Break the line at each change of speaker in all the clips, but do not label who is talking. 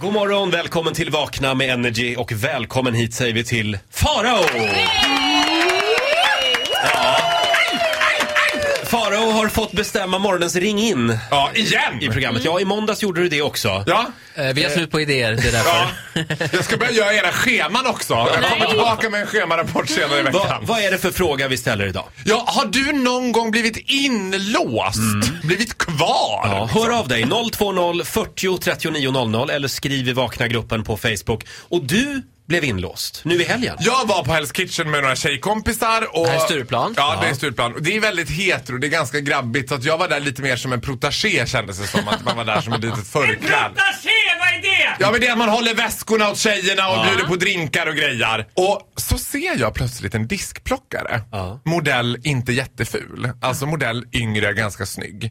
God morgon, välkommen till Vakna med Energy och välkommen hit säger vi till Farao! Ja. Farao har fått bestämma morgonens ring in
Ja, igen!
i programmet. Ja, i måndags gjorde du det också.
Ja,
Eh, Vi har slut på idéer, det är
ja.
därför.
Jag ska börja göra era scheman också. Jag kommer tillbaka med en schemarapport senare i
Va,
veckan.
vad är det för fråga vi ställer idag?
Ja, har du någon gång blivit inlåst? Blivit kvar?
Ja, hör av dig, 020 40 39 00 eller skriv i Vakna-gruppen på Facebook. Och du blev inlåst nu i helgen.
Jag var på Hell's Kitchen med några tjejkompisar och...
Det här är Stureplan.
Ja, det är Stureplan. Och Det är väldigt hetero, det är ganska grabbigt. Så att jag var där lite mer som en protaché kändes det som. Att man var där som ett litet förklädd.
Protaché, vad är det?
Ja men det är att man håller väskorna åt tjejerna och bjuder på drinkar och grejer. Och så ser jag plötsligt en diskplockare.
Ja.
Modell inte jätteful. Alltså modell yngre, ganska snygg.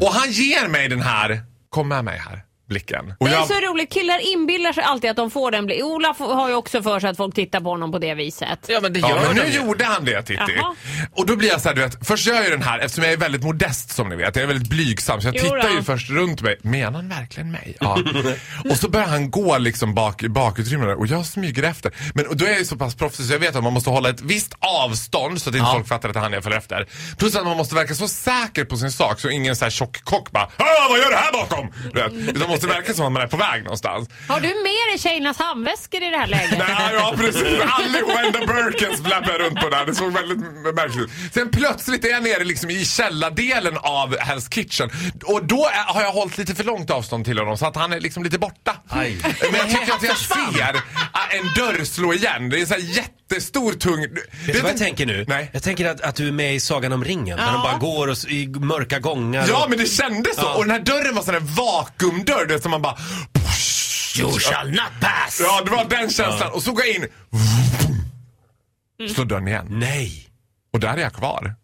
Och han ger mig den här, kom med mig här, blicken. Och
Det är
jag,
så roligt. Killar inbillar sig alltid att de får den bli. Olaf har ju också för sig att folk tittar på honom på det viset.
Ja, men det
Ja,
gör
men
de
nu
ju.
gjorde han det Titti.
Jaha.
Och då blir jag så här, du vet, först gör jag ju den här eftersom jag är väldigt modest som ni vet. Jag är väldigt blygsam så jag
Jo
tittar
då.
ju först runt mig. Menar han verkligen mig? Ja. och så börjar han gå liksom bak i bakutrymmena och jag smyger efter. Men och då är jag ju så pass proffsig så jag vet att man måste hålla ett visst avstånd så att inte folk fattar att det är han jag följer efter. Plus att man måste verka så säker på sin sak så ingen så här tjock kock bara "Ah, vad gör du här bakom? Du vet. Utan måste verka som att man är på väg någonstans.
Har du med dig tjejernas handväskor i det här läget?
Nej, ja precis. Allihopa enda Birkens flappade runt på där. Det såg väldigt märkligt ut. Sen plötsligt är jag nere liksom i källardelen av Hell's Kitchen. Och då är, har jag hållit lite för långt avstånd till honom så att han är liksom lite borta.
Aj.
Men jag tycker att jag ser äh, en dörr slå igen. Det är en sån här jättestor tung...
Vet du vad jag tänker nu?
Nej.
Jag tänker att, att du är med i Sagan om ringen. När de bara går och, s- i mörka gångar.
Ja
och...
men det kändes så. Och den här dörren var sån här vakuumdörr du vet, som man bara...
You shall not pass!
Ja det var den känslan. Och så går jag in. Slår dörren igen.
Nej.
Och där är jag kvar.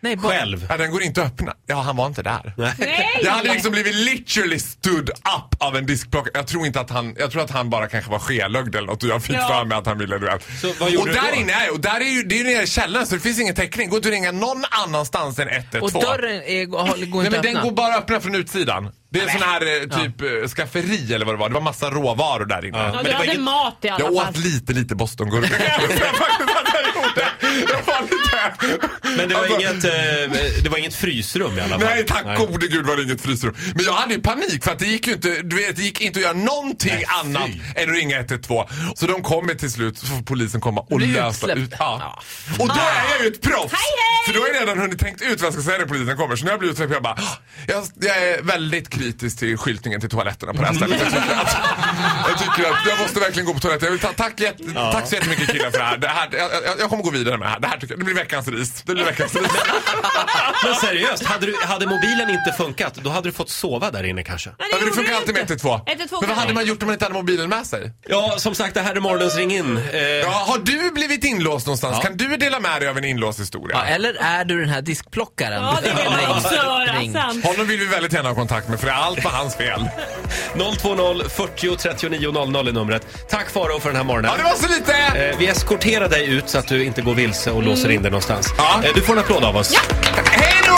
Nej, bara...
Själv.
Ja, den går inte att öppna. Ja, han var inte där.
Nej!
Jag hade liksom blivit literally stood up av en diskplockare. Jag tror inte att han, jag tror att han bara kanske var skelögd eller något och jag fick
Ja.
för mig att han ville du vet.
Så vad gjorde
och
du
där
då?
inne är jag och där är ju, det är ju nere i källaren så det finns ingen täckning. Går inte att ringa någon annanstans än 112.
Och dörren är, har- går
Nej
inte
men
att öppna.
den går bara att öppna från utsidan. Det är en sån här eh, typ eh, skafferi eller vad det var. Det var massa råvaror där inne.
Ja,
Men
du
det var
hade
inget-
mat i alla
Jag
fall.
åt lite, lite Bostongurka. Jag tror faktiskt att jag gjorde. Jag var lite...
Men det var,
Alltså-
inget, eh, det var inget frysrum i alla fall.
Nej, tack gode gud var det inget frysrum. Men jag hade ju panik för att det gick ju inte, du vet, det gick inte att göra någonting
Nej, fy.
annat än att ringa 112. Så de kommer till slut, så får polisen komma och
Blir
lösa
utsläppt.
ut. Ja.
Ja.
Och då är jag ju ett proffs!
Hej, hej!
För då har jag redan hunnit tänkt ut vad jag ska säga när polisen kommer. Så när jag blir utsläppt, jag bara, "Ah, jag, jag är väldigt kritisk till skyltningen till toaletterna på det här stället. Jag tycker att, jag, tycker att jag måste verkligen gå på toaletten. Jag vill ta, tack, jätte, tack så jättemycket killar för det här. Det här jag, jag, jag kommer gå vidare med det här. Det här tycker jag, det blir veckans ris. Det blir veckans ris.
Men seriöst, hade, du, hade mobilen inte funkat, då hade du fått sova där inne kanske.
Men
Ja, men det
gjorde
funkar
du
alltid med
inte.
112.
112
Men vad
kan
hade
jag.
man gjort om man inte hade mobilen med sig?
Ja, som sagt, det här är morgonens ring in. Eh,
Ja, har du blivit inlåst någonstans? Kan du dela med dig av en inlåst historia?
Ja, eller är du den här diskplockaren?
Ja, det vill man också
Ring.
höra. sant.
Honom vill vi väldigt gärna ha kontakt med för allt var hans fel.
020 40 39 00 är numret. Tack Faro för den här morgonen.
Ja, det var så lite!
Eh, Vi eskorterar dig ut så att du inte går vilse och låser in dig någonstans.
Ja.
Eh, Du får en applåd av oss.
Hej då!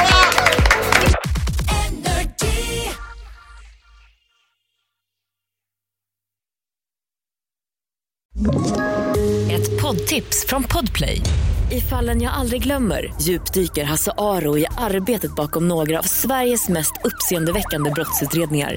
Ett poddtips från Podplay. I fallen jag aldrig glömmer djupdyker Hasse Aro i arbetet bakom några av Sveriges mest uppseendeväckande brottsutredningar.